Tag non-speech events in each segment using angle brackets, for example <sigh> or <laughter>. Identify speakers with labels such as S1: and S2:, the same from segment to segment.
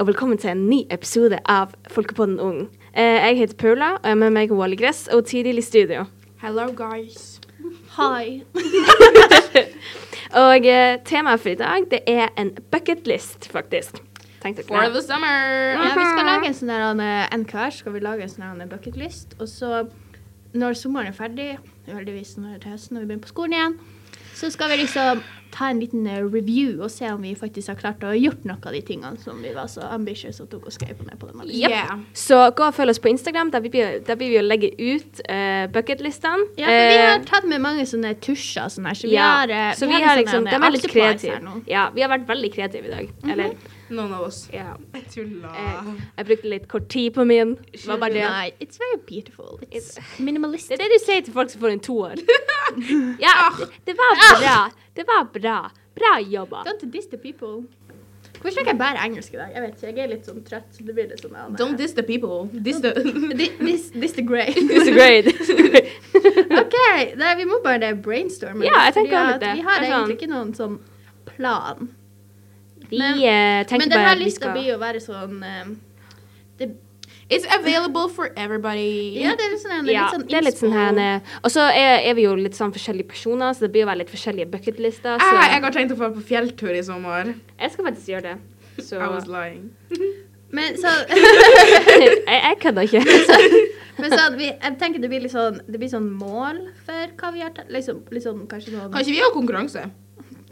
S1: og velkommen til en ny episode av Folkepodden Ung. Eh, Jeg heter Paula, og jeg er med meg Wally Gress og Tiril i studio.
S2: Hello, guys.
S3: Hi.
S1: Og eh, temaet for i dag, det er en bucketlist, faktisk. Tenkte
S2: For
S1: dere det?
S2: the summer.
S3: Ja, vi skal lage en sånn der eh, en hver skal vi lage en sånn her, eh, bucket list. Og så når sommeren er ferdig, uheldigvis når det er høsten og vi begynner på skolen igjen, så skal vi liksom ta en liten eh, review og se om vi faktisk har klart å gjort noe av de tingene som vi var så ambitious og tok og skrev på ned på den. måten.
S1: Jep.
S2: Yeah.
S1: Så gå og følg oss på Instagram, der vi, der vi vil legge ut eh, bucketlistene.
S3: Ja, for vi
S1: Eh,
S3: har tatt med mange sånne tusjer, og sånne her, så vi
S1: ja.
S3: har, eh,
S1: så
S3: vi
S1: vi
S3: har
S1: har
S3: en
S1: liksom,
S3: sånn,
S1: de
S3: eh,
S1: er litt
S3: octopus her
S1: kreative.
S3: nå. Mhm.
S1: Ja, vi har vært veldig kreative i dag. Eller,
S2: None of us. <laughs>
S1: ja.
S2: Tulla.
S1: Eh,
S3: Ah.
S1: jeg brukte litt kort tid på min. Hva var det?
S3: Nei, it's very beautiful. It's
S1: Det
S3: minimalistic.
S1: er det du sier til folk som får en
S3: <laughs>
S1: toer. ja,
S3: Ah.
S1: det, det var bra. Det var bra. Bra jobba.
S3: Don't diss the people. Hvorfor snakker jeg bare engelsk i dag? Jeg vet ikke, jeg er litt sånn trøtt. så det blir litt sånn... eh,
S2: Don't diss the people. Diss <laughs>
S1: <laughs>
S2: the
S3: Thi- This, this the grey. <laughs> OK, nei, vi må bare brainstorme.
S1: Ja, jeg
S3: litt, fordi
S1: tenker også
S3: at
S1: det.
S3: Vi
S1: Det
S3: har
S1: er sånn-
S3: egentlig ikke noen sånn plan.
S1: Vi
S3: Men-
S1: eh, tenker
S3: Men denne
S1: bare vi
S3: lista
S1: skal
S3: blir jo være sånn eh,
S2: It's available for everybody.
S3: Ja, det er litt sånn, en-
S1: ja,
S3: litt sånn
S1: det er litt sånn her
S3: inspo.
S1: eh, Og så er, er vi jo litt sånn forskjellige personer, så det blir jo være litt forskjellige bucketlister. Så
S2: Ah, jeg har tenkt å dra på fjelltur i sommer.
S1: jeg skal faktisk gjøre det. Så
S2: I
S1: <laughs>
S2: was lying.
S3: Men så, <laughs>
S1: jeg, jeg kødder ikke. <laughs>
S3: men så at vi, jeg tenker det blir litt sånn, det blir sånn mål for hva vi har tatt. Liksom, litt sånn kanskje noen
S2: Kan ikke vi ha konkurranse?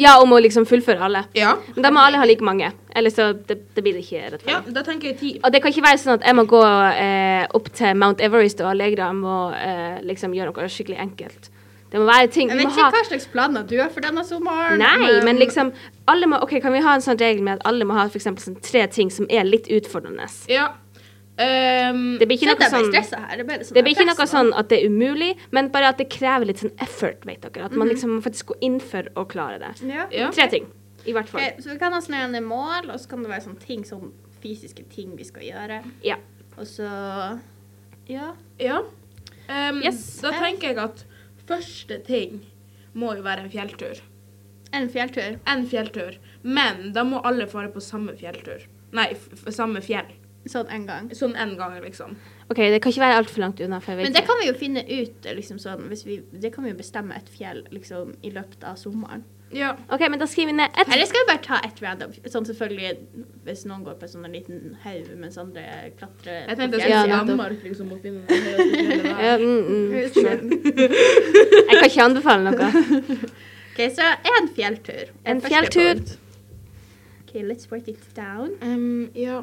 S1: Ja, om å liksom fullføre alle.
S2: Ja.
S1: Men da må alle ha like mange, ellers så det, det blir det ikke rettferdig.
S2: Ja, da tenker jeg ti.
S1: Og det kan ikke være sånn at jeg må gå eh, opp til Mount Everest og Allegra må eh, liksom gjøre noe skikkelig enkelt. Det må være ting
S3: Jeg
S1: vi
S3: vet
S1: må
S3: ikke
S1: ha.
S3: hva slags planer du har for denne sommeren.
S1: Nei, men liksom alle må, Ok, kan vi ha en sånn regel med at alle må ha for eksempel sånn tre ting som er litt utfordrende?
S2: Ja. Um,
S1: Det blir ikke noe sånn
S3: stressa her. Det er bare sånn
S1: det blir ikke noe
S3: press,
S1: sånn at det er umulig, men bare at det krever litt sånn effort, vet dere. At man
S3: Mhm.
S1: liksom må faktisk gå inn for å klare det.
S3: Ja.
S2: ja.
S1: Tre ting, i hvert fall.
S3: Ok, så vi kan ha sånne gjerne mål, og så kan det være sånne ting, sånn fysiske ting vi skal gjøre.
S1: Ja.
S3: Og så Ja.
S2: ja. Um,
S1: Yes.
S2: Da tenker jeg at første ting må jo være en fjelltur.
S3: En fjelltur.
S2: En fjelltur. Men da må alle fare på samme fjelltur. Nei, f f samme fjell.
S3: Sånn en gang.
S2: Sånn en gang, liksom.
S1: OK, det kan ikke være altfor langt unna, for jeg vet
S3: Men det kan vi jo finne ut liksom sånn, hvis vi, Det kan vi jo bestemme et fjell liksom, i løpet av sommeren.
S2: Ja.
S1: ikke. OK, men da skriver vi ned ett
S3: Eller skal vi bare ta et random Sånn selvfølgelig hvis noen går på en sånn en liten haug mens andre klatrer
S2: Jeg tenkte jeg
S3: på
S2: skulle
S1: Ja,
S2: si
S1: nettopp.
S2: Danmark, liksom, og finne den høyeste fjellet
S1: ja,
S2: der.
S1: mm, mm.
S3: fjellet.
S1: Jeg kan ikke anbefale noe.
S3: <laughs> OK, så en fjelltur.
S1: En
S3: Første
S1: fjelltur.
S3: punkt. OK, let's write it down.
S2: Um, ja.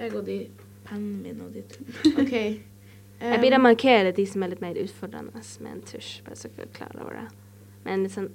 S2: Jeg og de pennen min og um, de to.
S3: OK.
S1: <laughs> Jeg eh, blir å markere de som er litt mer utfordrende altså med en tusj. Bare så dere er klar over det. Men en litt sånn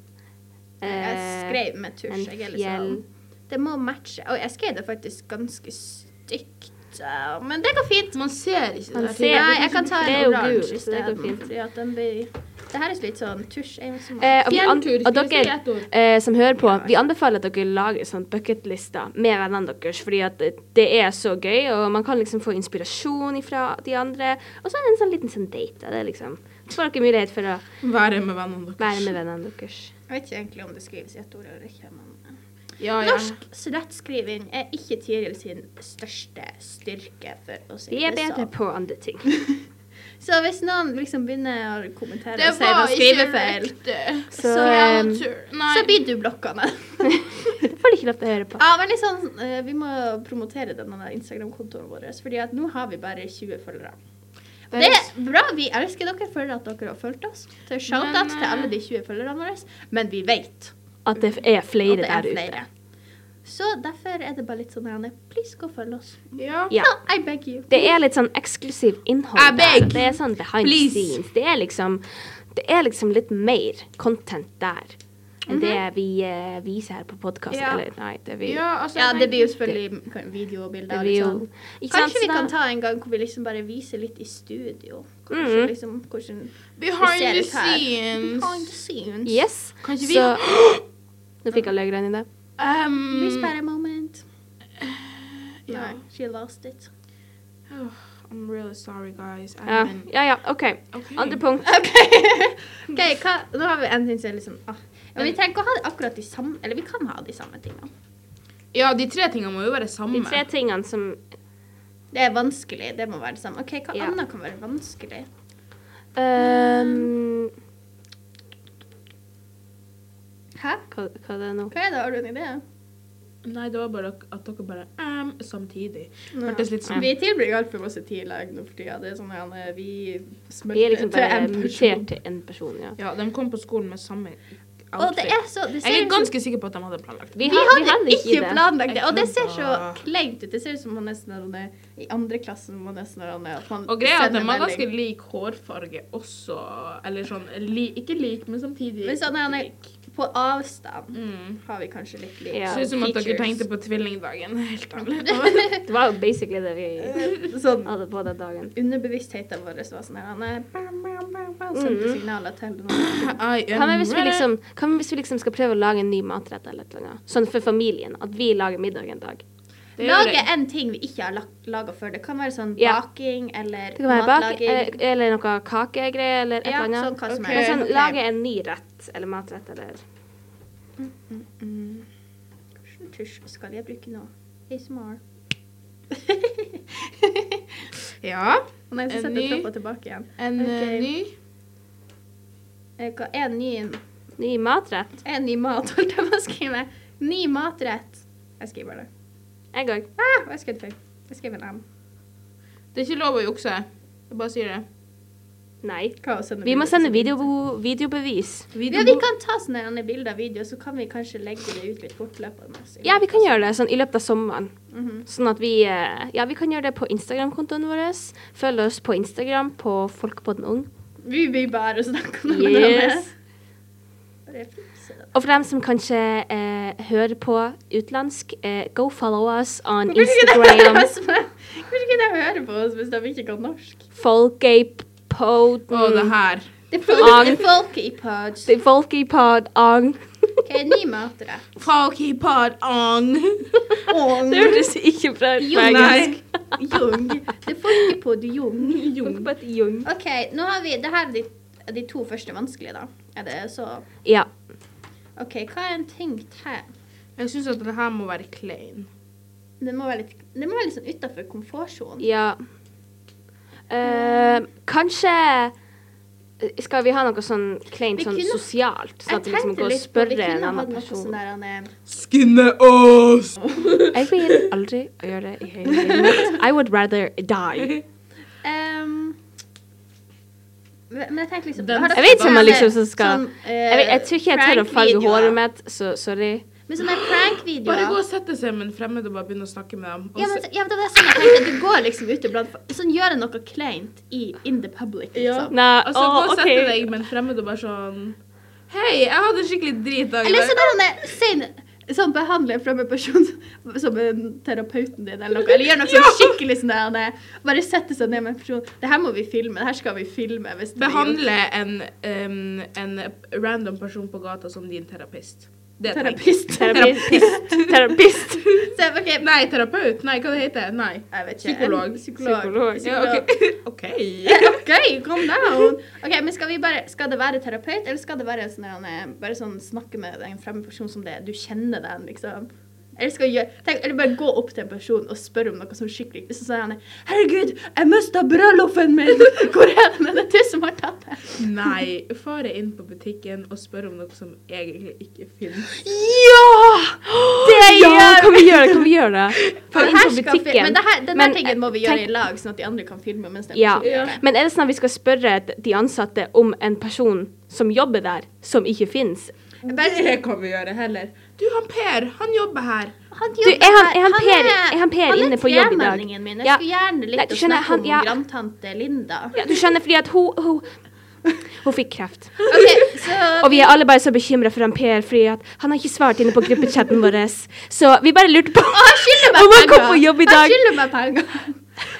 S3: Jeg
S1: eh,
S3: skrev med tusj.
S1: en
S3: Jeg er litt
S1: fjell.
S3: sånn Det må matche. Og jeg skrev det faktisk ganske stygt. eh, Men det går fint.
S2: Man ser ikke
S1: Man
S2: det.
S1: ser-
S2: der.
S3: Nei, jeg kan ta
S1: Det er
S3: en
S1: jo
S3: oransje
S1: gult, så det går
S3: isteden.
S1: fint.
S3: Fordi at den blir Det her er litt sånn tusj. er jo som-
S1: Eh, <laughs> og, vi an
S2: Fjelltur,
S1: og
S2: skal vi si
S1: dere
S2: ett ord?
S1: eh, som hører på, vi anbefaler at dere lager sånn bucketlister med vennene deres, fordi at eh, det er så gøy, og man kan liksom få inspirasjon ifra de andre. Og så er det en sånn liten sånn date. da. Det er liksom, så får dere mulighet for å
S2: Være med vennene
S1: være
S2: deres.
S1: med vennene deres.
S3: Jeg vet ikke egentlig om det skrives i ett ord eller ikke. Men
S2: Ja, ja.
S3: norsk rettskriving er ikke Tiril sin største styrke, for å si
S1: Vi er
S3: det
S1: bedre
S3: sånn.
S1: på andre ting. <laughs>
S3: Så hvis noen liksom begynner å kommentere
S2: Det
S3: og si
S2: var
S3: noe
S2: ikke
S3: skrivefeil,
S2: riktig.
S1: Så, ehm,
S2: Fjelltur. Nei.
S3: så blir du blokkende.
S1: <laughs> Det får de ikke lov til å høre på.
S3: Ja, men liksom, eh, vi må promotere denne der Instagram-kontoen vår, fordi at nå har vi bare 20 følgere.
S2: Det er
S3: Det
S2: litt-
S3: er bra, vi elsker dere for at dere har fulgt oss. Så
S2: Men,
S3: shout-out
S2: eh,
S3: til alle de 20 følgerne våre, men vi vet
S1: At det er
S3: at
S1: flere
S3: det er
S1: der
S3: flere.
S1: ute.
S3: Så derfor er det bare litt sånn Janne, please gå og følg oss.
S2: Ja.
S1: Ja.
S3: No, I beg you.
S1: Det er litt sånn eksklusiv innhold.
S2: I
S1: der.
S2: beg.
S1: Det er sånn behind
S2: Please.
S1: the scenes. Det er liksom det er liksom litt mer content der enn det vi eh, viser her på podkasten.
S2: Ja.
S1: Eller nei, det vi,
S2: Ja, altså,
S3: Mhm. Ja,
S2: jeg
S3: det blir jo
S2: tenker-
S3: selvfølgelig kan- video og bilder
S1: det
S3: og
S1: vi
S3: litt
S1: jo
S3: sånn.
S1: ikke sant,
S3: Kanskje vi
S1: så
S3: kan
S1: da-
S3: ta en gang hvor vi liksom bare viser litt i studio. Kanskje
S1: Mhm.
S3: liksom, hvordan
S2: Behind
S3: ser
S2: the
S3: ut her. Behind the
S2: scenes.
S3: scenes.
S1: Yes.
S2: Kanskje vi
S1: Så
S3: <gasps>
S1: Nå fikk alle øynene i det.
S2: um,
S3: Please spare a moment.
S2: ja. Oh,
S3: No, she lost it.
S2: I'm really sorry, guys. I
S1: Ja.
S2: haven't-
S1: ja ja, OK.
S2: Okay.
S1: Andre punkt.
S3: OK, okay hva, nå har vi en ting som er liksom ah. Men vi trenger ikke å ha akkurat de samme Eller vi kan ha de samme tingene.
S2: Ja, de tre tingene må jo være samme.
S1: De tre tingene som
S3: Det er vanskelig. Det må være det samme. OK, hva
S1: Ja.
S3: annet kan være vanskelig? Mm.
S1: Ehm,
S3: Hæ?
S1: hva, hva er det nå?
S3: Hva er det? Har du en idé?
S2: Nei, det var bare at dere bare um, samtidig.
S3: Nå.
S2: Hørtes litt sånn
S3: Vi tilbringer altfor masse tid i lag nå for tida. Det er sånn at eh,
S1: Vi
S3: vi
S1: er
S3: smelter
S1: liksom
S3: til
S1: bare
S3: en person.
S1: mutert til én person, ja.
S2: Ja, de kom på skolen med samme
S3: Og det er så det ser
S2: Jeg er
S3: ut som-
S2: ganske sikker på at de hadde planlagt det.
S1: Vi,
S3: Vi
S1: har-
S3: hadde,
S1: vi hadde
S3: ikke, planlagt det, og det
S2: Jeg
S3: ser så
S2: kødda.
S3: kleint ut. Det ser ut som man nesten er sånn, eh, i andre klassen man nesten er sånn, eh, at man
S2: Og greia er at de
S3: sender
S2: har
S3: melding.
S2: ganske lik hårfarge også. Eller sånn li, Ikke lik, men samtidig
S3: Men sånn er det.
S2: lik.
S3: På avstand
S2: Mm.
S3: har vi kanskje litt lik.
S1: Ja.
S2: Ser ut som at dere
S3: features.
S2: tenkte på tvillingdagen. <laughs> Helt ærlig.
S3: <laughs>
S1: Det var jo basically det vi
S3: Sånn
S1: hadde på den dagen.
S3: underbevisstheten vår var sånn her, han er bam, bam, bam, bam, Sendte
S1: Mhm.
S3: signaler til noen.
S1: Hva med hvis vi liksom, hva med hvis vi liksom skal prøve å lage en ny matrett eller et eller annet? Sånn for familien. At vi lager middag en dag.
S2: Det gjør
S3: Lage
S2: jeg.
S3: en ting vi ikke har laga før. Det kan være sånn
S1: Ja.
S3: baking eller
S1: Det kan være bak, eh, eller,
S3: matlaging.
S1: eller noe kakegreier eller et
S3: Ja,
S1: eller
S3: sånn
S1: annet.
S3: hva som
S2: Ok.
S1: Men
S3: er.
S1: sånn,
S3: Ok.
S1: lage en ny rett eller matrett eller
S3: Mm, Hvilken tusj skal jeg bruke nå? ASMR.
S2: Ja.
S3: Å <laughs> Nei, så
S2: En
S3: setter
S2: ny-
S3: jeg trappa tilbake igjen.
S2: En
S3: Ok.
S2: eh, ny
S3: Eh, Hva er en ny
S1: ny matrett.
S3: En ny mat, <laughs> holdt jeg på å skrive. Ny matrett. Jeg skriver det.
S1: Jeg òg.
S3: Ah, hva skrev jeg? Jeg skrev en M.
S2: Det er ikke lov å jukse. Jeg bare sier det.
S1: Nei.
S3: Hva å sende
S1: Vi må
S3: bilder
S1: sende
S3: til-
S1: videobo- videobevis.
S3: Ja, vi kan ta sånne her bilder og videoer, så kan vi kanskje legge det ut litt fortløpende.
S1: Ja, vi kan gjøre det sånn i løpet av sommeren.
S3: Mhm.
S1: Sånn at vi eh, Ja, vi kan gjøre det på Instagram-kontoen vår. Følg oss på Instagram på Folkepodden Ung.
S3: Vi vil bare snakke om
S1: Yes.
S3: det. Yes.
S1: Og for dem som kanskje eh, hører på utlandsk, eh, go follow us on
S3: Hvorfor ikke de
S1: Instagram.
S3: hører oss med- hvorfor ikke de hører på oss hvis de ikke kan norsk?
S2: Å, det
S1: Folkepodden.
S2: her.
S3: <laughs> Det er
S1: Ang.
S3: folk, folk i pods.
S1: Det er Folkepod ang. <laughs>
S3: Ok, ny matrett.
S2: Falky pod on. <laughs>
S3: Ong.
S1: Det hørtes ikke bra ut på
S3: Jung.
S1: engelsk.
S3: Jung. Det er folk i pod jung.
S1: Folkepod jung.
S3: OK, nå har vi Det her er de, de to første vanskelige, da. Er det så
S1: Ja.
S3: OK, hva er en ting til?
S2: Jeg syns at det her må være klein.
S3: Det må være litt, det må være litt sånn utafor komfortsonen.
S1: Ja. Eh, kanskje eh, skal vi ha noe sånn kleint
S3: Vi
S1: sånn
S3: kunne-
S1: sosialt? Sånn
S3: Jeg
S1: at vi liksom
S3: tenkte
S1: går og
S3: litt på
S1: spør
S3: Vi
S1: en
S3: kunne hatt
S1: annen
S3: noe sånn
S1: person.
S3: der han er-
S2: Skinne oss!
S3: <laughs>
S1: Jeg vil aldri å gjøre det i hele livet. I would rather die.
S3: Ehm, Men jeg tenker liksom
S2: Den-
S3: har dere
S1: Jeg vet ikke om
S3: sånne-
S1: jeg liksom så skal-
S3: sånn, eh,
S1: Jeg, vet, jeg tror ikke jeg tør å farge
S3: prank-videoer?
S1: håret mitt, så sorry.
S3: Men sånne
S2: Bare gå
S3: prank-videoer
S2: og sette seg med en fremmed og bare begynne å snakke med dem. Og
S3: ja, men,
S2: se-
S3: så- ja, men det var sånn jeg tenkte. Du går liksom ute blant folk. Sånn, gjør jeg noe kleint i in the public,
S2: Ja.
S3: liksom.
S1: Nei,
S2: altså, gå
S1: å,
S2: og sette
S1: OK.
S2: deg med en fremmed og bare sånn Hei, jeg hadde en skikkelig dritdag i
S3: Eller så
S2: dag.
S3: bare han er sen, sånn behandler fra en person som- som er terapeuten din, eller noe. Eller gjør noe sånn skikkelig sånn der han er- Bare setter seg ned med en person. Det her må vi filme. Det her skal vi filme. Hvis det blir gjort.
S2: Behandle en, em, en random person på gata som din terapist. Det tenker jeg.
S3: Terapist.
S1: Terapist. Terapist.
S3: Så, ok,
S2: Nei, terapeut. Nei, hva det heter det? Nei.
S3: jeg vet ikke.
S2: Psykolog.
S3: En Psykolog.
S1: Psykolog.
S2: Ja,
S3: <laughs> Psykolog.
S2: OK. <laughs>
S3: OK, calm down. Ok, men Skal vi bare, skal det være terapeut, eller skal det være sånn der han er- bare sånn snakke med en fremmed person som det, du kjenner den, liksom? Eller, skal gjøre, tenk, eller bare gå opp til en person og spørre om noe sånn skikkelig Så sier han er, 'Herregud, jeg mista brødloffen min! <laughs> Hvor er den? Er det du som har tatt den?'
S2: Nei. Fare inn på butikken og spør om noe som egentlig ikke finnes.
S1: Ja! Det ja,
S3: gjør
S1: kan vi gjøre det? Kan vi gjøre det? På,
S3: Det
S1: inn
S3: her
S1: på
S3: skal fil- Men
S1: butikken.
S3: det her, denne
S1: Men,
S3: tingen må vi
S1: eh,
S3: gjøre
S1: tenk-
S3: i lag, sånn at de andre kan filme. mens den
S1: Ja.
S3: personen gjør det.
S1: Men er det sånn at vi skal spørre d- de ansatte om en person som jobber der, som ikke fins?
S2: Det kan vi gjøre heller. Du, han Per, han jobber her.
S3: Han
S1: Du, er han- er han
S3: jobber-
S1: Per- er han Per inne på jobb i dag?
S3: tremenningen min. Jeg
S1: Ja.
S3: skulle gjerne litt
S1: Nei, du
S3: å
S1: skjønner,
S3: snakke
S1: han-
S3: om
S1: ja.
S3: grandtante Linda.
S1: Ja, du skjønner, fordi at hun, hun hun fikk kreft. <laughs>
S3: Ok, så
S1: Og vi er alle bare så bekymra for han Per, fordi at han har ikke svart inne på gruppechatten vår.
S3: <laughs>
S1: Så vi bare lurte på
S3: Å, han skylder meg
S1: om han kom
S3: penger.
S1: på jobb i
S3: Han
S1: dag.
S3: skylder meg penger.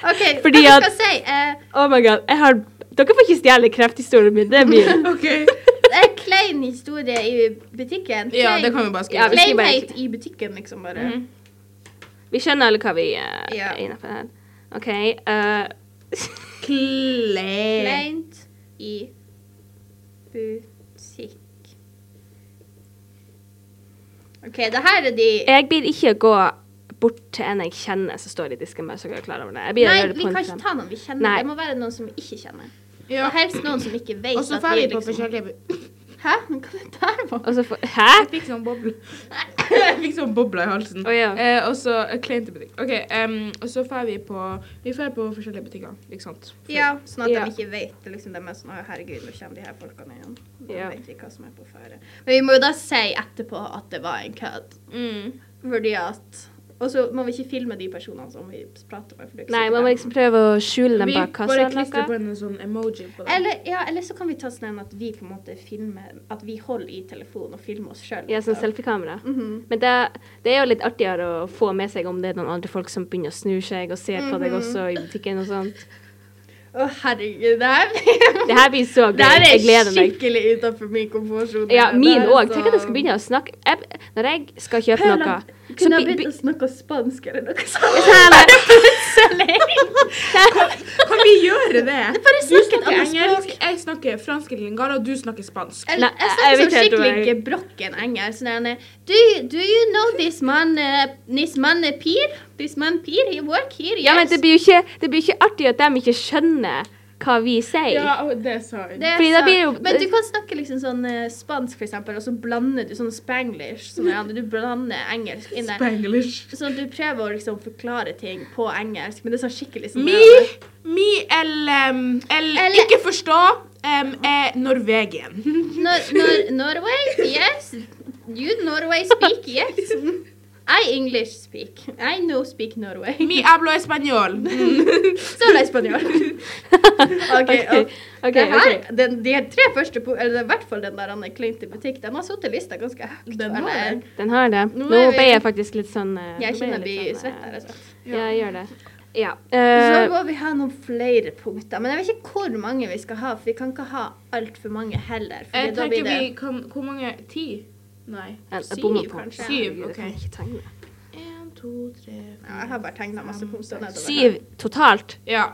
S3: OK,
S1: Fordi
S3: hva
S1: at-
S3: skal jeg si? Eh,
S1: Oh my god, jeg har Dere får ikke stjele krefthistorien min. Det er
S3: <laughs>
S1: min.
S2: <laughs> OK.
S3: det er klein historie i butikken.
S2: Ja,
S3: Klein-
S2: det kan vi bare
S1: Ja,
S2: skrive.
S1: vi skriver bare- Mhm.
S3: Kleinhet i butikken, liksom bare.
S1: Vi skjønner alle hva vi eh,
S3: Ja.
S1: er inne på her. OK. eh, <laughs>
S2: Klein.
S3: Kleint i butikk. OK, OK, det her er de
S1: Jeg blir ikke gå bort til en jeg kjenner som står i disken med, så jeg er klar over det. Jeg blir å
S3: Nei,
S1: gjøre det
S3: vi
S1: på en
S3: kan ikke
S1: frem.
S3: ta noen vi kjenner.
S1: Nei.
S3: Det må være noen som vi ikke kjenner.
S2: Ja.
S3: Og helst noen som ikke vet
S2: Og så
S3: at
S2: drar
S3: vi
S2: vi
S3: er
S2: på
S3: liksom
S2: forskjellige
S3: Hæ? Men hva er det der for?
S1: Og så får Hæ?
S2: Jeg fikk sånn boble.
S1: Altså-
S2: Jeg fikk sånn bobler i halsen.
S1: Å ja.
S2: Eh, og så eh, kleint i butikk. OK, em, og så drar vi på Vi drar på forskjellige butikker, ikke sant? For-
S3: Ja, sånn at
S1: Ja.
S3: de ikke vet. Liksom, de er sånn Å, herregud, nå kjenner de her folkene igjen. Da
S1: Ja.
S3: vet vi hva som er på ferde. Men vi må jo da si etterpå at det var en kødd.
S2: Mm.
S3: Fordi at Og så må vi ikke filme de personene som vi prater med. For det er ikke
S1: Nei,
S3: sikkert
S1: man må
S3: dem-
S1: liksom prøve å skjule den
S2: Vi
S1: bak kassa.
S2: bare
S1: eller
S2: klistrer på
S1: noe.
S2: en sånn emoji på den.
S3: eller, ja, eller så kan vi ta sånn en at vi på en måte filmer At vi holder i telefonen og filmer oss sjøl.
S1: Ja, sånn selfiekamera.
S3: Mhm.
S1: Men det, det er jo litt artigere å få med seg om det er noen andre folk som begynner å snu seg og ser på deg
S3: Mhm.
S1: også i butikken og sånn. sånt.
S3: Å, herregud, det her blir-
S1: Det her blir så gøy.
S3: Det her
S1: Jeg
S3: er
S1: gleder meg.
S3: skikkelig utenfor min komfortsone. sånn-
S1: Ja, min òg. Tenk at jeg
S3: jeg
S1: skal begynne å snakke jeg, Når jeg skal kjøpe noe så
S3: Kunne jeg
S1: be-
S3: begynt
S1: be- <laughs>
S3: å snakke spansk eller noe sånt?
S1: Sånn,
S3: <laughs>
S2: Kan vi gjøre det?
S3: Bare
S2: Du
S3: snakk et
S2: snakker
S3: annet
S2: engelsk,
S3: språk.
S2: jeg snakker fransk eller lingala, og du snakker spansk.
S3: Eller,
S1: Nei,
S3: jeg
S1: jeg
S3: snakker
S1: vet ikke
S3: sånn
S1: helt om
S3: skikkelig
S1: jeg-
S3: gebrokken engelsk. Sånn der, do, you- do you know this man, eh, this man eh, Pir? This man Pir, he work here, yes.
S1: Ja, men det blir jo ikke, det blir ikke artig at de ikke skjønner hva vi sier.
S2: og det sa hun.
S3: Det er
S1: Fordi da
S3: sant.
S1: blir jo-
S3: Men du kan snakke liksom sånn eh, spansk, for eksempel, og så blander du sånn spanglish. Sånn der, du blander engelsk inn der.
S2: Spanglish.
S3: Sånn at du prøver å liksom forklare ting på engelsk, men det er sånn skikkelig sånn
S2: Mi, mi el, em, el,
S3: Eller-
S2: Ikke forstå em, er
S3: <laughs>
S2: Norvegien.
S3: Nor Nor Norway? Yes. You Norway speak, yes. I English speak. I no speak Norway.
S2: Mi hablo español.
S3: Så er det
S1: <laughs>
S3: spanjol. OK. og
S1: OK.
S3: det her,
S1: ok.
S3: den, de her tre første, po- eller i hvert fall den der Anne Kleint i butikk, de har sittet lista ganske høyt.
S2: Den
S3: føler
S2: har
S3: jeg.
S1: Den har det. Nå
S3: Nå er vi-
S1: ble jeg faktisk litt sånn eh,
S3: Jeg
S1: nå ble litt
S3: kjenner jeg
S1: sånn,
S3: blir
S1: eh,
S3: svett her. Altså.
S1: Ja, jeg gjør det. Ja.
S3: Så
S1: eh,
S3: må vi ha noen flere punkter, men jeg vet ikke hvor mange vi skal ha. For vi kan ikke ha altfor mange heller.
S2: Jeg
S3: For da
S2: tenker
S3: blir
S2: vi
S3: det
S2: kan Hvor mange? Ti? Nei.
S1: jeg
S2: Syv,
S1: bommer på.
S2: kanskje.
S1: Herregud,
S2: Syv,
S1: jeg
S2: OK.
S1: kan ikke tegne.
S2: En, to, tre
S3: ja, Jeg har bare tegna masse punkter. nedover.
S1: Syv totalt.
S2: Ja.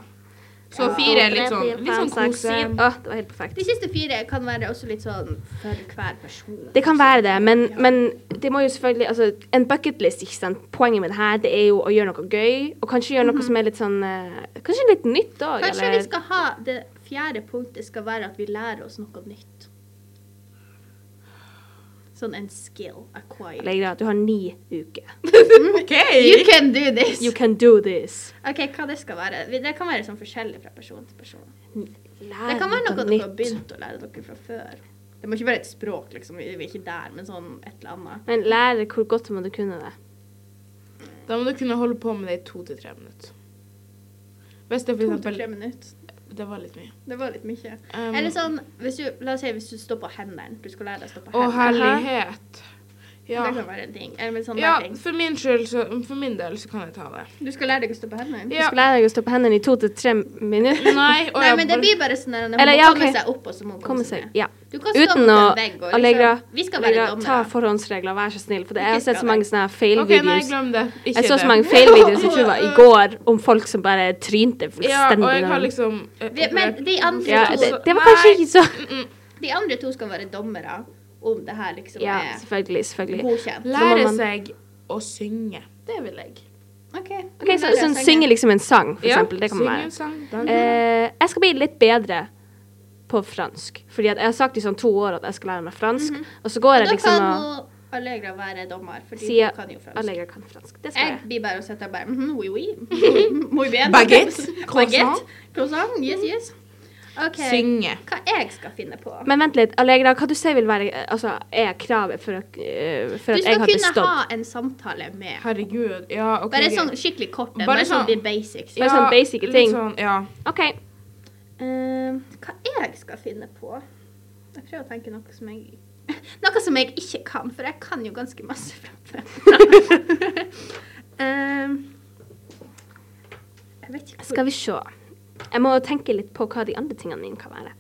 S2: Så
S1: En, to,
S2: fire er
S1: tre,
S2: litt sånn
S1: fire,
S2: Litt
S1: fem,
S2: sånn
S1: seks,
S2: kose.
S1: syv. Å, det var helt perfekt.
S3: De siste fire kan være også litt sånn for hver person.
S1: Det kan være det, men,
S3: Ja.
S1: men det må jo selvfølgelig altså, En bucketlist, ikke sant. Poenget med det her det er jo å gjøre noe gøy, og kanskje gjøre noe som er litt sånn eh, Kanskje litt nytt òg,
S3: Mhm. Kanskje vi skal ha det fjerde punktet skal være at vi lærer oss noe nytt. Sånn en skill acquired.
S1: Eller greit, du har ni
S3: <laughs>
S1: uker.
S2: OK!
S3: You can do this!
S1: You can do this.
S3: OK, hva det skal være? Vi- Det kan være sånn forskjellig fra person til person.
S1: Lær
S3: Det kan være noe dere har begynt å lære dere fra før. Det må ikke være et språk, liksom. Vi vi er ikke der, men sånn et eller annet.
S1: Men lære hvor godt må du kunne det.
S2: Da må du kunne holde på med det i to til tre minutter. Hvis det for
S3: To til
S2: eksempel
S3: tre minutter.
S2: Det var litt mye.
S3: Det var litt mye.
S2: Um,
S3: Eller sånn, hvis du, la oss si hvis du står på hendene. Du skal lære deg å stå på
S2: Å,
S3: hendene.
S2: herlighet. Ja.
S3: Det kan være en ting. Eller sånn
S2: ja.
S3: der ting.
S2: For min skyld, så For min del, så kan jeg ta det.
S3: Du skal lære deg å stå på hendene.
S1: Du
S2: Ja.
S1: skal lære deg å stå på hendene i to til tre minutter.
S2: Nei, å,
S3: Nei,
S2: ja,
S3: men det
S2: bare-
S3: blir bare sånn der, hun
S1: Eller,
S3: må
S1: ja,
S3: komme
S1: ok.
S3: seg opp, og så må hun
S1: <laughs> Komme seg.
S3: ned.
S1: Ja.
S3: Du kan stå
S1: Uten
S3: mot
S1: å
S3: en vegg og
S1: Allegra,
S3: liksom, Vi skal være
S1: Allegra ta
S3: dommere.
S1: forhåndsregler, vær så snill. For det- jeg
S3: Ikke
S1: har sett
S3: skal
S1: så mange
S3: det.
S1: sånne
S2: OK, nei,
S1: feil-videoer.
S2: glem det. Ikke
S1: Jeg så så
S2: det.
S1: mange feil-videoer som jeg tror var i går, om folk som bare trynte
S2: <laughs> Ja, og jeg har
S1: fullstendig.
S2: liksom eh,
S3: Vi- men
S2: opplevd-
S3: de andre
S1: Ja,
S3: to-
S1: det, det var kanskje
S2: Nei.
S1: ikke så
S3: De andre to skal være dommere om det her liksom
S1: Ja,
S3: er
S1: selvfølgelig. selvfølgelig.
S3: godkjent.
S1: Så må
S2: Lære
S1: man-
S2: seg å synge. Det vil jeg.
S3: OK.
S1: Ok, så, så
S3: sånn
S1: synge liksom en sang, for eksempel. Det kan man
S2: synge
S1: være.
S2: en sang. Mhm. danse.
S1: Eh, jeg skal bli litt bedre på fransk. Fordi at jeg har sagt i sånn to år at jeg skal lære meg fransk. Og så går
S3: Da
S1: jeg liksom
S3: kan
S1: og
S3: hun Allegra være dommer, fordi
S1: sier
S3: hun kan jo fransk.
S1: Allegra kan fransk. Det skal
S3: Jeg
S1: jeg.
S3: blir bare og sitter bare mhm, oui, oui. mhm, Muy bien.
S2: Baguette.
S3: Baguette.
S2: Croissant.
S3: Croissant. Yes, yes. OK.
S2: Synge.
S3: Hva jeg skal finne på?
S1: Men vent litt. Allegra, hva du sier vil være eh, Altså, er kravet for, å- eh, for
S3: Du
S1: at jeg
S3: skal
S1: har
S3: kunne
S1: bestått?
S3: ha en samtale med
S2: Herregud. Ja, OK.
S3: Bare
S2: greit.
S3: sånn skikkelig kort.
S2: Bare
S3: Bare, bare sånn
S2: sånn-
S3: de basics.
S1: bare sånn basic
S2: litt
S1: ting.
S2: Sånn, ja.
S1: <clears throat> OK.
S3: Eh, hva jeg skal finne på? Jeg prøver å tenke noe som jeg <laughs> Noe som jeg ikke kan, for jeg kan jo ganske masse fra
S1: <laughs>
S3: før. Eh, jeg vet ikke hvor,
S1: Skal vi se. Jeg må tenke litt på hva de andre tingene mine kan være.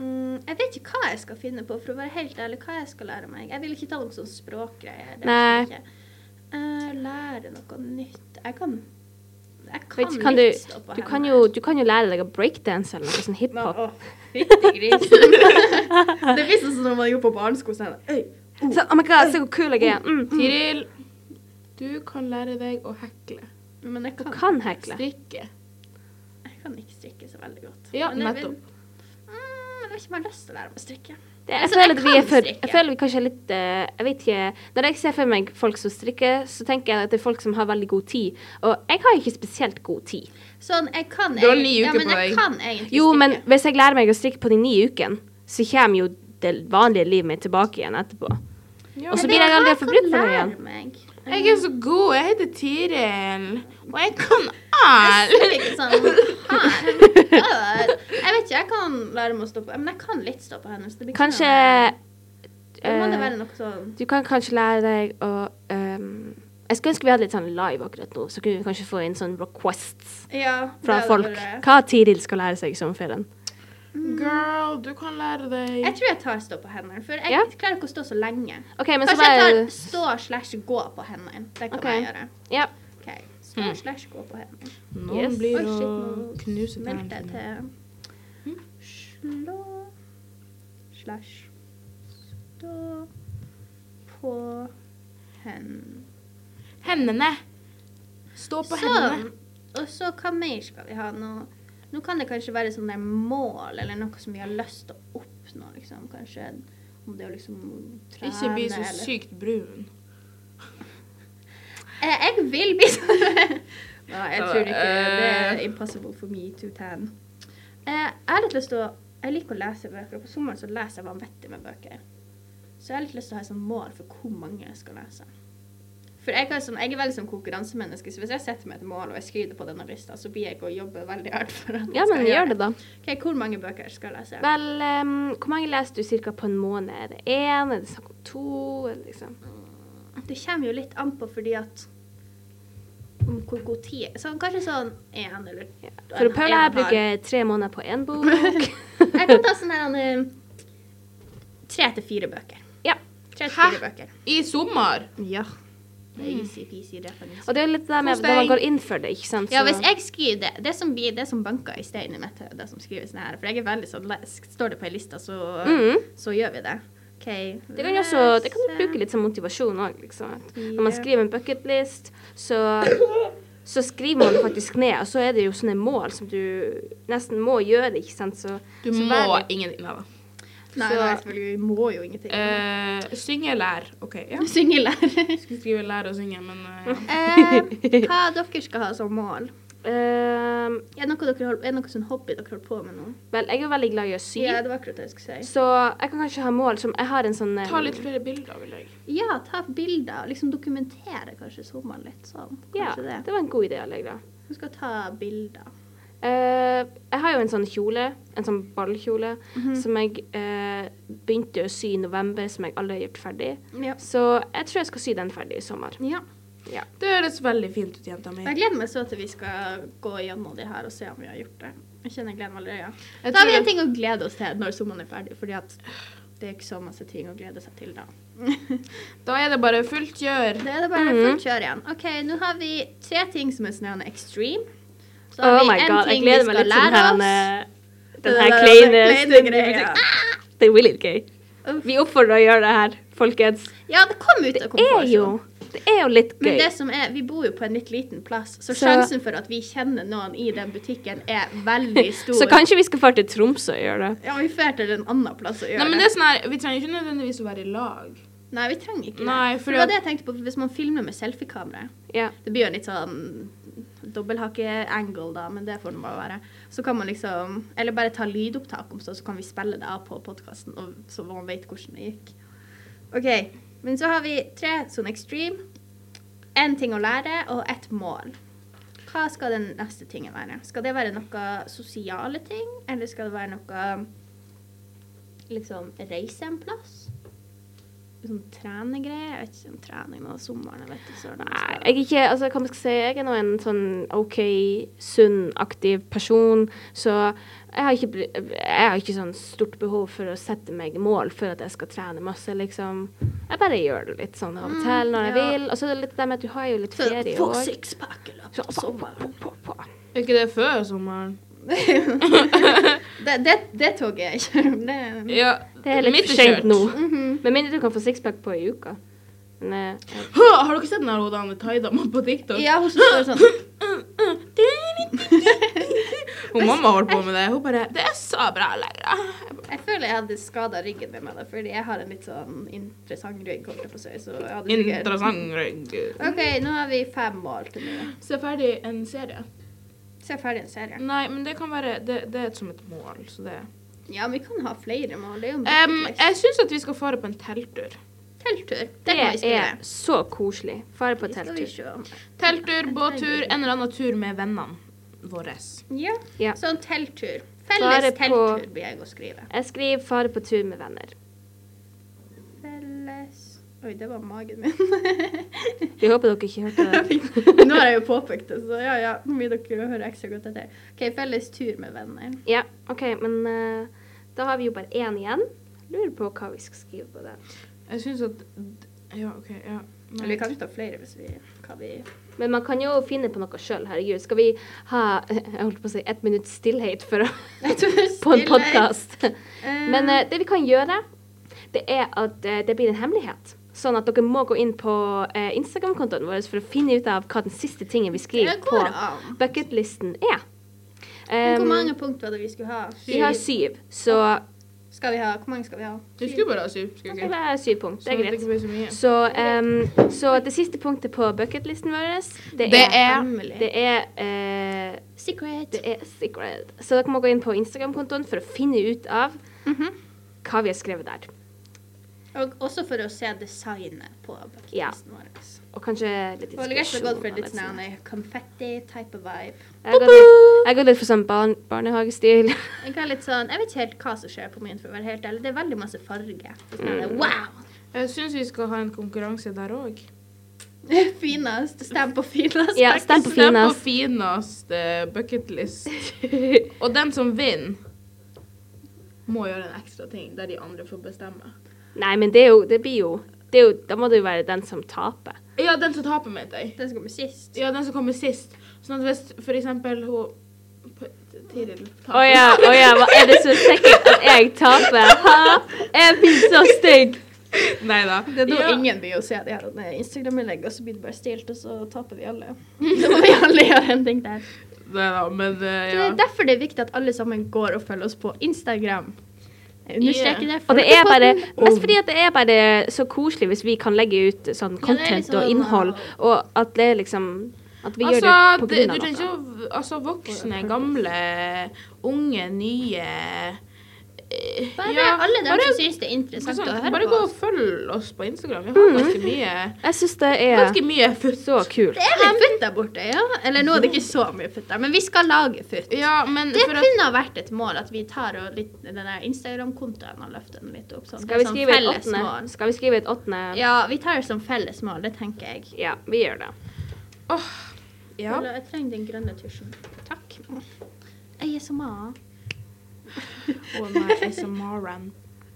S3: mm, jeg vet ikke hva jeg skal finne på, for å være helt ærlig, hva jeg skal lære meg. Jeg vil ikke ta noen sånn språkgreier. det vil jeg
S1: Nei.
S3: ikke. Eh, lære noe nytt Jeg kan Jeg kan,
S1: Vet, du, kan du,
S3: litt stå på
S1: du, kan
S3: hendene.
S1: jo, du kan jo lære deg å breakdance eller noe sånn hiphop.
S3: <laughs> Å, fytti grisen. det blir sånn som når man gjorde på barneskolen. Sånn, «Øy,
S1: Så, oh my god, se hvor kul jeg er. Mm.
S2: Tiril, du kan lære deg å hekle.
S3: Men jeg
S1: Du
S3: kan,
S1: kan hekle.
S2: Strikke.
S3: jeg kan ikke strikke så veldig godt.
S2: Ja,
S3: Men jeg vil-
S2: nettopp.
S3: Mm, men jeg har ikke mer lyst til å lære meg å strikke.
S1: Det, jeg,
S3: Altså,
S1: føler
S3: jeg
S1: at vi er
S3: kan
S1: for,
S3: strikke.
S1: jeg føler vi kanskje er litt eh, Jeg vet ikke Når jeg ser for meg folk som strikker, så tenker jeg at det er folk som har veldig god tid. Og jeg har ikke spesielt god tid.
S3: Sånn, jeg kan
S2: Du har
S3: egentlig-
S2: ni
S3: ja,
S2: uker
S3: men
S2: på
S3: jeg
S2: deg.
S3: kan egentlig
S1: Jo, men
S3: strikke.
S1: hvis jeg lærer meg å strikke på de ni ukene, så kommer jo det vanlige livet mitt tilbake igjen etterpå.
S2: Ja.
S1: Og så
S3: Men
S1: blir jeg
S3: har
S1: aldri for brutt for det
S3: lært
S1: igjen.
S3: meg.
S2: Jeg er så god. Jeg heter Tiril. Og jeg kan
S3: Jeg
S2: alt.
S3: sier ikke
S1: <laughs>
S3: sånn her. Øh, Jeg vet ikke, jeg kan lære meg å stå på Men jeg kan litt stå på hendene. så det blir ikke
S1: Kanskje
S3: noe- Da må det
S1: eh,
S3: være noe sånn
S1: Du kan kanskje lære deg å ehm, Jeg skulle ønske vi hadde litt sånn live akkurat nå, så kunne vi kanskje få inn sånn requests
S3: Ja. det
S1: fra
S3: hadde
S1: folk.
S3: vært-
S1: Hva Tiril skal lære seg i sommerferien.
S2: Girl, du kan lære
S3: Mm, Jeg
S2: deg
S3: tror jeg tar stå på hendene, for jeg
S1: Ja.
S3: klarer ikke å stå så lenge.
S1: OK, men så
S3: Kanskje jeg
S1: bare
S3: tar stå slash gå på hendene. Det kan
S1: Ok.
S3: jeg gjøre.
S1: Ja.
S3: Ok, Stå
S2: Mm.
S3: slash gå på hendene.
S2: Noen
S1: Yes.
S2: blir
S3: Oi, shit,
S2: å
S3: nå
S2: knuse
S3: Meldte jeg
S2: tennene.
S3: til
S2: Hmm?
S3: slå slash stå på hendene.
S2: Hendene. Stå på hendene.
S3: Sånn. Og så hva mer skal vi ha nå? Nå kan det kanskje være sånne der mål eller noe som vi har lyst til å oppnå, liksom. Kanskje om det å liksom trene
S2: Ikke bli så
S3: eller-
S2: sykt brun.
S3: Eh, jeg vil bli sånn.
S1: <laughs>
S3: Nei, jeg tror ikke det er
S2: Eh.
S3: impossible for me to tan. Eh, jeg har litt lyst til å Jeg liker å lese bøker, og på sommeren så leser jeg vanvittig med bøker. Så jeg har litt lyst til å ha et sånt mål for hvor mange jeg skal lese. For jeg, har sånn, jeg er veldig sånn konkurransemenneske, så hvis jeg setter meg et mål og jeg skryter på denne lista, så blir jeg å jobbe veldig hardt for at
S1: ja,
S3: jeg
S1: men
S3: skal
S1: gjør det, da.
S3: Ok, Hvor mange bøker skal jeg lese?
S1: Vel, ehm, hvor mange leser du cirka på en måned? Er det én? Er det snakk om to? Eller liksom?
S3: Det kommer jo litt an på fordi at om hvor god tid jeg- sånn, Kanskje sånn én eller
S1: Ja. For
S3: en-
S1: Paula jeg
S3: en og en halv.
S1: bruker tre måneder på én bok.
S3: <laughs> Jeg kan ta sånn her eh, Tre til fire bøker.
S1: <laughs> Ja.
S3: Tre til
S2: Hæ?
S3: fire bøker.
S2: I sommer.
S3: Ja. Det er easy peasy, det er
S1: Og
S3: faktisk.
S1: det er jo litt det der med
S2: Kos
S1: når man
S2: deg.
S1: går inn for det, ikke sant.
S3: Ja,
S1: Så-
S3: hvis jeg skriver det Det som, blir, det som banker i steinen i mitt hode, det som skrives ned her For jeg er veldig sånn le- Står det på ei liste, så,
S1: Mhm.
S3: så gjør vi det. OK.
S1: Det kan, jo også, det kan du bruke litt som motivasjon òg, liksom. At Når man skriver en bucketlist, så, så skriver man det faktisk ned. Og så er det jo sånne mål som du nesten må gjøre, ikke sant. Så,
S2: Du
S1: så
S2: må
S1: vær litt-
S2: ingenting av det.
S3: Nei,
S1: så-
S3: nei, selvfølgelig. Vi må jo ingenting.
S2: Eh, synge, lær. OK. ja.
S3: <laughs> Singellærer.
S2: Jeg skulle skrive lær og synge, men eh, ja.
S3: Eh, hva dere skal ha som mål?
S1: Ehm,
S3: Er det noe, dere holder, er det noe sånn hobby dere holder på med nå?
S1: Vel, jeg er jo veldig glad i å sy,
S3: Ja, det var akkurat det jeg skulle si.
S1: så jeg kan kanskje ha mål som Jeg har en sånn eh,
S2: ta litt flere bilder, vil jeg.
S3: Ja, ta bilder. Liksom dokumentere kanskje sommeren litt sånn.
S1: Ja,
S3: Kanskje det.
S1: det var en god idé, Allegra.
S3: Du skal ta bilder.
S1: Eh, jeg har jo en sånn kjole, en sånn ballkjole,
S3: Mhm.
S1: som jeg eh, begynte å sy i november, som jeg aldri har gjort ferdig.
S3: Ja.
S1: Så jeg tror jeg skal sy den ferdig i sommer. Ja.
S2: Det høres veldig fint ut, jenta mi.
S3: Jeg gleder meg så til vi skal gå gjennom de her og se om vi har gjort det. Jeg kjenner jeg gleder meg allerede.
S2: Jeg
S3: da har
S2: tror
S3: vi en
S2: det-
S3: ting å glede oss til når sommeren er ferdig, fordi at det er ikke så masse ting å glede seg til da. <laughs>
S2: Da er det bare fullt kjør.
S3: Det er det bare
S1: Mhm.
S3: fullt kjør igjen. OK, nå har vi tre ting som er snøende extreme. Så har
S1: Oh
S3: vi
S1: my
S3: en
S1: god, jeg
S3: ting
S1: gleder
S3: vi
S1: meg
S3: skal
S1: litt til
S3: lære
S1: den
S3: oss.
S1: her, eh, den
S3: Det <laughs>
S1: her
S3: der
S1: kleine
S3: kleine
S1: stunden.
S3: greia.
S1: vi fikk. Det er jo litt gøy.
S3: Uff.
S1: Vi oppfordrer å gjøre det her, folkens.
S3: Ja, det kom ut
S1: Det
S3: av
S1: er jo,
S3: komfortsonen.
S1: det er jo litt
S3: Men
S1: gøy.
S3: det som er, vi bor jo på en litt liten plass, så,
S1: Så-
S3: sjansen for at vi kjenner noen i den butikken er veldig
S1: <laughs>
S3: stor.
S1: Så kanskje vi skal dra til Tromsø og gjøre det.
S3: Ja, vi drar til en annen plass og gjør
S2: Nei, men det er sånn her, Vi trenger ikke nødvendigvis å være i lag.
S3: Nei, vi trenger ikke
S2: Nei, fordi
S3: det. For
S2: at-
S3: det var det jeg tenkte på, for hvis man filmer med selfiekamera,
S1: Ja.
S3: det blir jo en litt sånn dobbelthake-angle da, men det får det bare være. Så kan man liksom, eller bare ta lydopptak om så, så kan vi spille det av på podcasten, og så man vet hvordan det gikk. Ok, men så har vi tre sånne extreme, en ting å lære, og et mål. Hva skal den neste tingen være? Skal det være noe sosiale ting, eller skal det være noe liksom reise en plass? Sånn trenegreier? Jeg vet ikke om trening nå, sommeren, jeg vet ikke. søren om det
S1: Nei, jeg
S3: skal-
S1: er ikke, altså hva man skal si, jeg er nå en sånn OK, sunn, aktiv person, så jeg har, ikke, bry- jeg har ikke sånn stort behov for å sette meg mål for at jeg skal trene masse, liksom. Jeg bare gjør det litt sånn av og til når jeg
S3: Mm, ja.
S1: vil. Og så er det litt det med at du har jo litt ferie i år.
S3: Få sixpack i løpet
S1: Så,
S3: av
S1: på, på,
S3: sommeren.
S1: på, på.
S2: Er ikke det
S1: <laughs>
S2: før sommeren?
S3: Det, mhm. det, det toget jeg kjører. Det,
S2: Ja,
S1: Det er litt
S2: Midt i
S1: for sent
S2: kjørt.
S1: nå. Med mindre du kan få sixpack på ei uke. Men eh,
S2: Hå, Har dere sett den her Odane Taidama på TikTok? Mm,
S3: Ja, hun som står sånn.
S2: Hun mamma holdt på med det. Hun bare 'Det er så bra lenger'.
S3: Jeg føler jeg hadde skada ryggen min med det, fordi jeg har en litt sånn interessant rygg. holdt jeg på å si, så jeg hadde sikkert-
S2: Interessant rygg.
S3: OK, nå har vi fem mål til nå.
S2: Se ferdig en serie.
S3: Så er jeg ferdig en serie.
S2: Nei, men det kan være Det, det er som et mål, så det
S3: Ja, men vi kan ha flere mål. Det er jo
S1: Um,
S3: en
S2: Em,
S3: bucket list.
S2: Jeg syns at vi skal fare på en telttur.
S3: Telttur. Det, må vi
S1: det
S3: skrive.
S1: er så koselig. Fare på
S3: Det skal vi
S1: telttur.
S3: se om.
S2: Telttur, båttur, en eller annen tur med vennene våre.
S3: Ja.
S1: Ja.
S3: Sånn telttur.
S1: Bare
S3: Felles
S1: på-
S3: telttur blir jeg å skrive.
S1: Jeg skriver 'fare på tur med venner'.
S3: Felles Oi, det var magen min. <laughs>
S1: Vi håper dere ikke hørte det.
S3: Nå har jeg jo påpekt det, så ja, ja. Nå vil dere høre ekstra godt etter. OK, felles tur med venner.
S1: Ja, OK, men eh, da har vi jo bare én igjen. Lurer på hva vi skal skrive på den.
S2: Jeg syns at Ja, OK. Ja. Nei.
S3: Eller vi kan ikke ta flere hvis vi hva vi
S1: <laughs> Men man kan jo finne på noe sjøl, herregud. Skal vi ha <laughs> jeg holdt på å si, ett minutts stillhet for å, <laughs> på en podkast? Men eh, det vi kan gjøre, det er at eh, det blir en hemmelighet. Sånn at dere må gå inn på eh, Instagram-kontoen vår for å finne ut av hva den siste tingen vi skriver
S3: Det
S1: på
S3: går an.
S1: bucketlisten er.
S3: Hvor
S1: Em,
S3: mange punkt var det vi skulle ha?
S1: vi har syv, så
S3: Skal vi ha, Hvor mange skal vi ha?
S2: Du skulle bare ha syv. Skulle
S1: det
S2: ikke?
S1: er syv punkt. Det
S2: Sånn
S1: er
S2: at det
S1: greit.
S2: ikke blir så mye.
S1: Så, em, så det siste punktet på bucketlisten vår, det
S2: Det
S1: er
S2: er-
S3: Hemmelig.
S1: Det er, eh,
S3: Secret.
S1: det er secret. Så dere må gå inn på Instagram-kontoen for å finne ut av
S3: Mhm.
S1: hva vi har skrevet der.
S3: Og også for å se designet på
S1: Ja.
S3: bucketlisten vår.
S1: Og kanskje litt
S3: Og jeg har gått for
S1: og
S3: litt
S1: litt sånn.
S3: sånn confetti type of vibe.
S1: Jeg går litt, jeg går litt for sånn barn, barnehagestil. <laughs>
S3: Jeg har litt sånn, jeg vet ikke helt hva som skjer på min, for å være helt ærlig. Det er veldig masse farge. Så sånn
S1: Mm.
S3: er det, Wow!
S2: Jeg syns vi skal ha en konkurranse der òg.
S3: Finest. Stem på finest.
S1: Ja, stem på finest.
S2: finest eh, bucketlist. Og den som vinner, må gjøre en ekstra ting der de andre får bestemme.
S1: Nei, men det er jo Det blir jo, det er jo Da må det jo være den som taper.
S2: Ja, den som taper, mente jeg.
S3: Den som kommer sist.
S2: Ja, den som kommer sist. Sånn at hvis for eksempel hun P- Tiril
S1: Å ja, <laughs> å ja, hva er det så sikkert at jeg taper? Hæ? Jeg blir så stygg.
S2: Nei da.
S3: Det er da
S2: ja.
S3: ingen blir å se de her Instagram-innleggene, og så blir det bare stilt, og så taper vi alle. <laughs> Da må vi alle gjøre en ting der.
S2: Neida, men eh,
S3: Så det
S2: ja.
S3: er derfor det er viktig at alle sammen går og følger oss på Instagram. Jeg understreker det.
S1: Og det er bare Mest
S3: Og-
S1: fordi at det er bare så koselig hvis vi kan legge ut sånn
S3: Ja, det er
S1: content
S3: liksom-
S1: og innhold, og at det er liksom At vi
S2: Altså,
S1: gjør det på
S2: det,
S1: grunn
S2: du
S1: av
S2: trenger
S1: noe.
S2: ikke å Altså, voksne, gamle, unge, nye eh,
S3: Bare
S2: ja,
S3: alle dem
S2: bare-
S3: som syns det er interessant
S2: Sånn,
S3: å høre
S2: bare
S3: på. Mm.
S2: gå og følg oss på Instagram. Vi har ganske mye
S1: Jeg syns det er
S2: Ganske mye futt.
S1: så kult.
S3: Det er litt futt der borte, ja. Eller nå er det ikke så mye futt der, men vi skal lage futt.
S2: Ja, men
S3: Det
S2: for at
S3: kunne ha vært et mål at vi tar og litt, den der Instagram-kontoen og løfter den litt opp. Sånn.
S1: Skal vi
S3: Det er sånn
S1: skrive et
S3: felles
S1: åttende?
S3: mål.
S1: Skal vi skrive et åttende?
S3: Ja, vi tar det som felles mål, det tenker jeg.
S1: Ja, vi gjør det.
S2: Ja.
S3: Ola, Jeg trenger den grønne tusjen. Takk. Jeg er
S1: <laughs>
S3: så ma.
S2: Å nei, ASMR-en.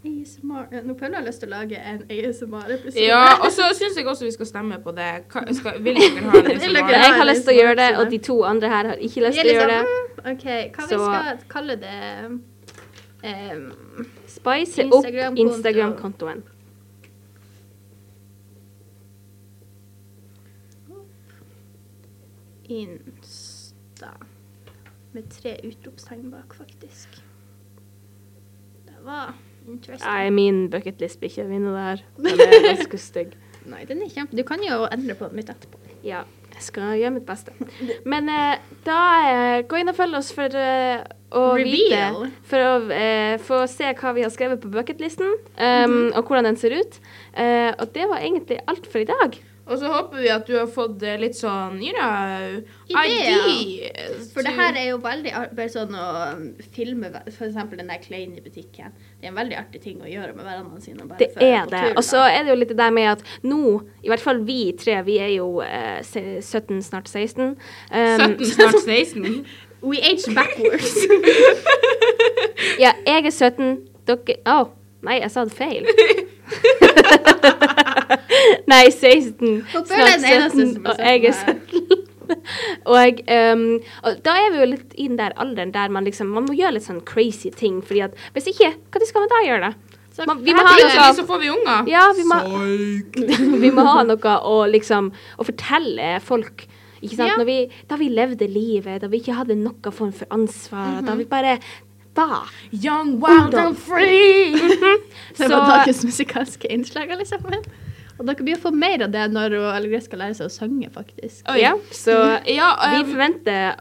S3: Jeg er så ma. Nå føler jeg lyst til å lage en ASMR-episode.
S2: Ja, og så syns jeg også vi skal stemme på det. Hva, skal, vil dere
S3: <laughs>
S2: ha en
S3: Vil dere
S2: ASMR?
S1: Jeg har lyst til å gjøre det, liksom
S3: Absolutt.
S1: og de to andre her har ikke lyst til
S3: Vi er
S1: å
S3: litt
S1: gjøre det.
S3: sånn, mm, OK, hva vi
S1: Så-
S3: skal kalle det em,
S1: Spice opp
S3: Instagram-konto.
S1: Instagram-kontoen.
S3: Insta. Med tre utropstegn bak, faktisk. Det var
S1: Nei,
S3: interesting.
S1: min bucketlist blir ikke å vinne det her. <laughs> Den er ganske stygg.
S3: Nei, den er kjempe... Du kan jo endre på den litt etterpå.
S1: Ja, jeg skal gjøre mitt beste. Men eh, da eh, gå inn og følg oss for eh, å
S3: Reveal.
S1: vite For å eh, få se hva vi har skrevet på bucketlisten, um, og hvordan den ser ut. Eh, og det var egentlig alt for i dag.
S2: Og så håper vi at du har fått eh, litt sånn you know,
S3: Ideer.
S2: ideas
S3: For det
S2: to-
S3: her er jo veldig ar- bare sånn å um, filme ve- for eksempel den der kleinen i butikken. Det er en veldig artig ting å gjøre med vennene sine. Bare
S1: Det
S3: for-
S1: er
S3: på
S1: det.
S3: tur, da.
S1: Og så er det jo litt det der med at nå, i hvert fall vi tre, vi er jo eh, se- 17, snart 16. Um,
S2: 17, snart 16.
S3: <laughs>
S2: <laughs>
S3: We age backwards.
S1: <laughs> Ja, jeg er 17. Dere Å, nei, jeg sa det
S3: <laughs>
S1: feil. nei, 16.
S3: Håper jeg
S1: Snart
S3: er den eneste
S1: 17,
S3: som er
S1: og jeg er
S3: 17
S1: 17. <laughs> Og, ehm, og da er vi jo litt i den der alderen der man liksom Man må gjøre litt sånn crazy ting, fordi at hvis ikke, hva skal man da gjøre?
S3: Så
S1: Man- vi må
S3: her
S1: ha
S3: blir
S1: noe-
S3: det-
S2: Plutselig så får vi unger.
S1: Ja, vi må,
S4: Psyk!
S1: <laughs> vi må ha noe å, liksom, å fortelle folk. Ikke sant?
S3: Ja.
S1: Når vi, da vi levde livet, da vi ikke hadde noen form for ansvar,
S3: Mhm.
S1: da vi bare var.
S2: Young, wild
S1: Ungdom.
S2: and free.
S3: Det
S1: Så-
S3: var dagens musikalske innslag, alle sammen. Og dere blir å få mer av det når hun allerede skal lære seg å synge, faktisk.
S2: Oi.
S1: Ja, så
S2: <laughs> Ja,
S1: vi
S2: eh,
S1: forventer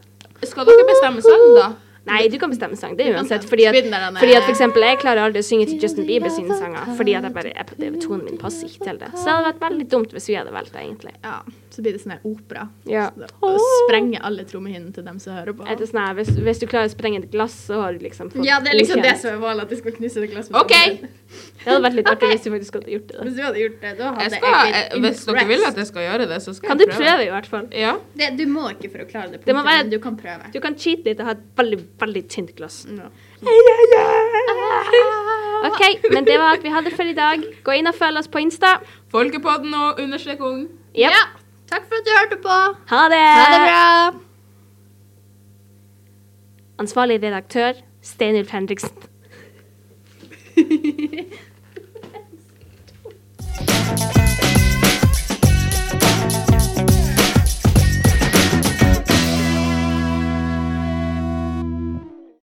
S2: skal dere bestemme selv, da?
S1: Nei, du kan bestemme sang. Det er uansett. Fordi at,
S3: Spinn der, Anne.
S1: fordi at for eksempel, jeg klarer aldri å synge til Justin Bieber sine sanger. Fordi at jeg bare, jeg, det, tonen min passer ikke til det. Så det hadde vært veldig dumt hvis vi hadde valgt det, egentlig.
S3: Ja, så blir det sånn her opera.
S1: Ja.
S3: Så da- Og sprenger alle trommehinnene til dem som hører på.
S1: Etter sånn her, hvis, hvis du klarer å sprenge et glass, så har du liksom fått
S3: Ja, det er liksom
S1: godkjent.
S3: det som er målet, at de skal knuse det glasset. med
S2: OK.
S3: trommehinnen.
S1: Det hadde vært litt
S3: <laughs>
S1: artig hvis du faktisk hadde gjort det.
S3: Hvis du hadde gjort det, da
S2: Jeg
S3: hadde
S2: skal, eh,
S3: blitt
S2: hvis dere
S3: impressed.
S2: vil at jeg skal gjøre det, så skal
S1: Kan du
S2: jeg prøve.
S1: prøve, i hvert fall?
S2: Ja.
S3: det, Du må ikke for å klare det,
S1: Det må
S3: punktet,
S1: være-
S3: men du kan prøve.
S1: Du kan cheate litt og ha et veldig, veldig tynt glass.
S3: Ja.
S2: <laughs>
S1: OK, men det var alt vi hadde for i dag. Gå inn og følg oss på Insta.
S2: Folkepodden og understrek ung.
S1: Jep.
S3: Ja. Takk for at du hørte på.
S1: Ha det!
S3: Ha det bra.
S2: <laughs>
S1: Ansvarlig redaktør, Steinulf Henriksen.